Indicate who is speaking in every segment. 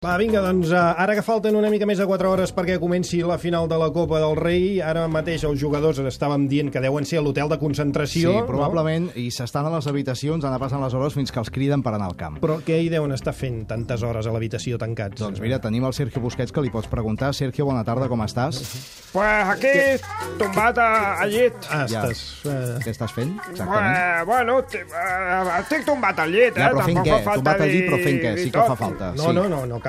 Speaker 1: Va, vinga, doncs eh, ara que falten una mica més de 4 hores perquè comenci la final de la Copa del Rei, ara mateix els jugadors ens estàvem dient que deuen ser a l'hotel de concentració.
Speaker 2: Sí, probablement, no? i s'estan a les habitacions, anar passant les hores fins que els criden per anar al camp.
Speaker 1: No? Però què hi deuen estar fent tantes hores a l'habitació tancats?
Speaker 2: Doncs mira, tenim el Sergio Busquets que li pots preguntar. Sergio, bona tarda, com estàs?
Speaker 3: Pues aquí, tombat a, a llit.
Speaker 1: Ah, estàs... Eh,
Speaker 2: Què estàs fent, exactament?
Speaker 3: Eh, bueno, t- eh, estic tombat al llit, eh?
Speaker 2: Ja, però fent
Speaker 3: Tampoc
Speaker 2: què?
Speaker 3: fa falta
Speaker 2: Tombat allí,
Speaker 3: dir-
Speaker 2: però fent què?
Speaker 3: dir
Speaker 2: Sí que
Speaker 3: tot.
Speaker 2: fa falta.
Speaker 1: no,
Speaker 2: Ah, sí. Ah,
Speaker 1: no, no, no cal.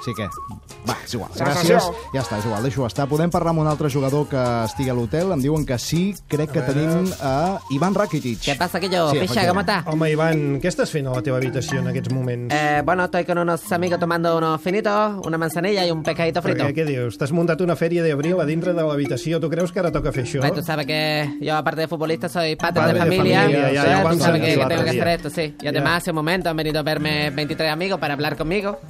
Speaker 2: Sí que... Va, és igual.
Speaker 3: Sensació.
Speaker 2: Gràcies. Ja està, és igual, deixo estar. Podem parlar amb un altre jugador que estigui a l'hotel. Em diuen que sí, crec que tenim a Ivan Rakitic.
Speaker 4: ¿Qué pasa, que yo?
Speaker 2: Sí,
Speaker 4: ¿Pesha, gamata?
Speaker 1: Home, Ivan, què estàs fent a la teva habitació en aquests moments?
Speaker 4: Eh, bueno, estoy con unos amigos tomando unos finitos, una manzanilla y un pescadito frito.
Speaker 1: Perquè, què dius? T'has muntat una fèria d'abril a dintre de l'habitació. Tu creus que ara toca fer això?
Speaker 4: Bueno, tú sabes que yo, aparte de futbolista, soy padre,
Speaker 1: Padre de
Speaker 4: de familia.
Speaker 1: familia, ya, ya,
Speaker 4: tú
Speaker 1: Juan
Speaker 4: sabes
Speaker 1: Sánchez
Speaker 4: que, que tengo
Speaker 1: Barra,
Speaker 4: que hacer
Speaker 1: ya.
Speaker 4: esto, sí. Y
Speaker 1: Ya.
Speaker 4: además, hace un momento han venido a verme 23 amigos para hablar conmigo.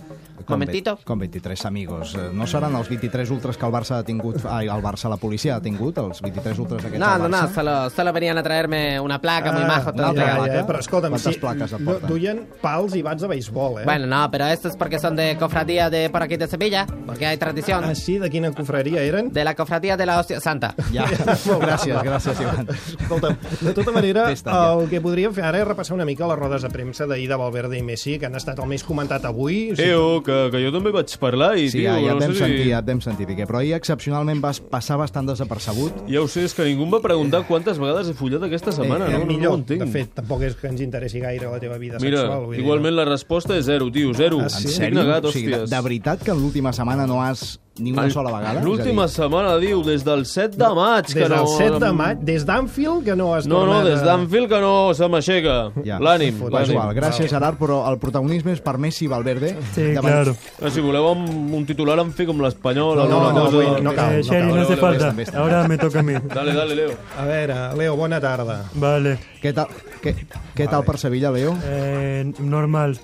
Speaker 4: Un
Speaker 2: Com
Speaker 4: momentito.
Speaker 2: ve- Com 23 amigos. Eh, No seran els 23 ultras que el Barça ha tingut... Ai, el Barça, la policia ha tingut, els 23 ultras aquests
Speaker 4: No,
Speaker 2: al
Speaker 4: no,
Speaker 2: Barça?
Speaker 4: no, solo,
Speaker 1: ¿eh?
Speaker 4: solo venían a traerme una placa
Speaker 1: Ah,
Speaker 4: muy majo, todo
Speaker 2: no,
Speaker 4: pegado.
Speaker 2: regalo, eh?
Speaker 1: Però escolta'm,
Speaker 2: Quantes plaques em
Speaker 1: no,
Speaker 2: porten?
Speaker 1: duien pals i bats de béisbol, eh?
Speaker 4: Bueno, no, pero esto es porque son de cofradía de por aquí de Sevilla, porque hay tradición.
Speaker 1: Ah, sí? De quina confraria eren?
Speaker 4: De la cofradía de la hostia santa.
Speaker 2: Ja, gràcies, gràcies, Ivan.
Speaker 1: Escolta'm, de tota manera,
Speaker 2: Fes-te'n, ja.
Speaker 1: el que podríem fer ara és repassar una mica les rodes de premsa d'ahir de Valverde i Messi, que han estat el més comentat avui. O
Speaker 5: Sí.
Speaker 1: sigui,
Speaker 5: Eo, que, que jo també vaig parlar i,
Speaker 2: Sí,
Speaker 5: tio,
Speaker 2: ja, ja et
Speaker 5: no
Speaker 2: vam
Speaker 5: sé
Speaker 2: sentir,
Speaker 5: si...
Speaker 2: ja et vam sentir, Piqué. Però ahir, excepcionalment, vas passar bastant desapercebut.
Speaker 5: Ja ho sé, és que ningú em va preguntar quantes vegades he follat aquesta setmana,
Speaker 1: eh,
Speaker 5: no, no, no ho
Speaker 1: millor,
Speaker 5: entenc.
Speaker 1: de fet, tampoc és que ens interessi gaire la teva vida
Speaker 5: Mira,
Speaker 1: sexual. vull dir.
Speaker 5: igualment la resposta és zero, tio, zero.
Speaker 1: Ah, sí?
Speaker 5: Estic Negat,
Speaker 2: o sigui, de,
Speaker 5: hòsties.
Speaker 2: de veritat que en l'última setmana no has ni una sola vegada?
Speaker 5: L'última
Speaker 2: És
Speaker 5: setmana, diu, des del 7 de maig.
Speaker 1: Des
Speaker 5: que
Speaker 1: del
Speaker 5: no,
Speaker 1: 7 de maig, des d'Anfield, que no has
Speaker 5: No, no,
Speaker 1: tornat
Speaker 5: des
Speaker 1: a-
Speaker 5: d'Anfield que no se m'aixeca.
Speaker 2: Ja.
Speaker 5: L'ànim,
Speaker 2: a dir, Va, és igual,
Speaker 5: l'ànim.
Speaker 2: gràcies, Gerard, però el protagonisme és per Messi i Valverde.
Speaker 6: Sí,
Speaker 2: Davant-
Speaker 6: claro.
Speaker 5: Ah, Si voleu amb un titular em fico amb l'Espanyol.
Speaker 1: No, no,
Speaker 5: alguna
Speaker 1: no,
Speaker 5: cosa.
Speaker 1: avui no cal.
Speaker 6: Eh,
Speaker 1: No
Speaker 6: Sherry,
Speaker 1: cal.
Speaker 5: Vale,
Speaker 6: no hace
Speaker 5: vale,
Speaker 6: falta.
Speaker 2: vale, está,
Speaker 6: Ahora me toca a mí.
Speaker 5: Dale, dale, Leo.
Speaker 1: A veure, Leo, bona tarda.
Speaker 6: Vale.
Speaker 2: Què tal, què, què tal per Sevilla, Leo?
Speaker 6: Eh, normal.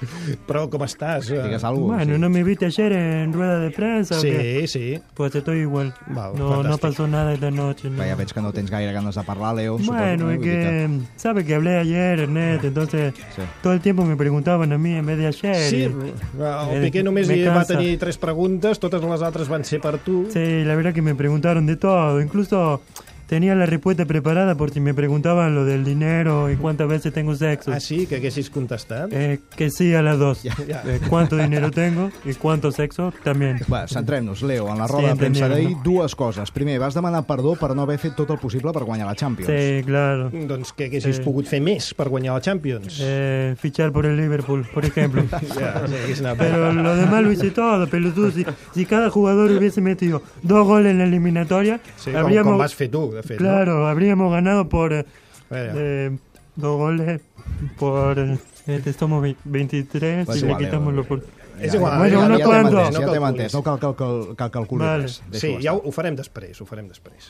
Speaker 1: Però com estàs? Eh,
Speaker 2: Digues alguna
Speaker 6: Bueno,
Speaker 2: cosa.
Speaker 6: ¿no me viste ayer en rueda de prensa? o qué?
Speaker 1: Sí, sí.
Speaker 6: Pues estoy igual.
Speaker 1: Vale,
Speaker 6: no, no
Speaker 1: fantástico.
Speaker 6: pasó nada en la noche. no.
Speaker 2: Ja veig que no tens gaire ganes de parlar, Leo. suposo,
Speaker 6: Bueno,
Speaker 2: no?
Speaker 6: es
Speaker 2: Vull dir
Speaker 6: que sabe que hablé ayer, Ernest, entonces
Speaker 2: Sí.
Speaker 6: todo el tiempo me preguntaban a mí en vez de ayer.
Speaker 1: Sí,
Speaker 6: y-
Speaker 1: el
Speaker 6: Eh,
Speaker 1: Piqué només
Speaker 6: me
Speaker 1: hi va
Speaker 6: cansa.
Speaker 1: tenir tres preguntes, totes les altres van ser per tu.
Speaker 6: Sí, la verdad que me preguntaron de todo. Incluso tenía la respuesta preparada por si me preguntaban lo del dinero y cuántas veces tengo sexo.
Speaker 1: Ah, sí? Que haguessis contestat?
Speaker 6: Eh, que sí a las dos.
Speaker 1: ya.
Speaker 6: Eh, cuánto dinero tengo y cuánto sexo también.
Speaker 2: Bueno, centrem-nos, Leo, en la
Speaker 6: Sí,
Speaker 2: roda de premsa
Speaker 6: entenem,
Speaker 2: d'ahir,
Speaker 6: no?
Speaker 2: dues coses. Primer, vas demanar perdó per no haver fet tot el possible per guanyar la Champions.
Speaker 6: Sí, claro.
Speaker 1: Doncs que haguessis
Speaker 6: Sí.
Speaker 1: pogut fer més per guanyar la Champions.
Speaker 6: Eh, fichar por el Liverpool, por ejemplo.
Speaker 1: Ja, sí, hagués anat bé.
Speaker 6: Pero lo demás lo hice todo, pelotudo. Si, si cada jugador hubiese metido dos goles en la eliminatoria,
Speaker 1: Sí, com,
Speaker 6: habríamos,
Speaker 1: com vas fer tu, de fet.
Speaker 6: claro, habríamos ganado por eh,
Speaker 1: No? Eh,
Speaker 6: eh, dos goles, por... eh, Este, somos ve- 23
Speaker 2: Pues
Speaker 6: y
Speaker 2: igual,
Speaker 6: le quitamos
Speaker 2: eh,
Speaker 6: los por...
Speaker 1: és igual.
Speaker 6: Bueno,
Speaker 2: ja,
Speaker 6: no
Speaker 2: ja t'hem
Speaker 6: cuento.
Speaker 2: entès, ja
Speaker 1: No
Speaker 2: t'hem
Speaker 1: calculis.
Speaker 2: entès, no cal, cal, cal, cal calcular
Speaker 6: Vale.
Speaker 2: res. Deixa-ho
Speaker 1: Sí, ja
Speaker 2: estar.
Speaker 1: ho, ho farem després, ho farem després.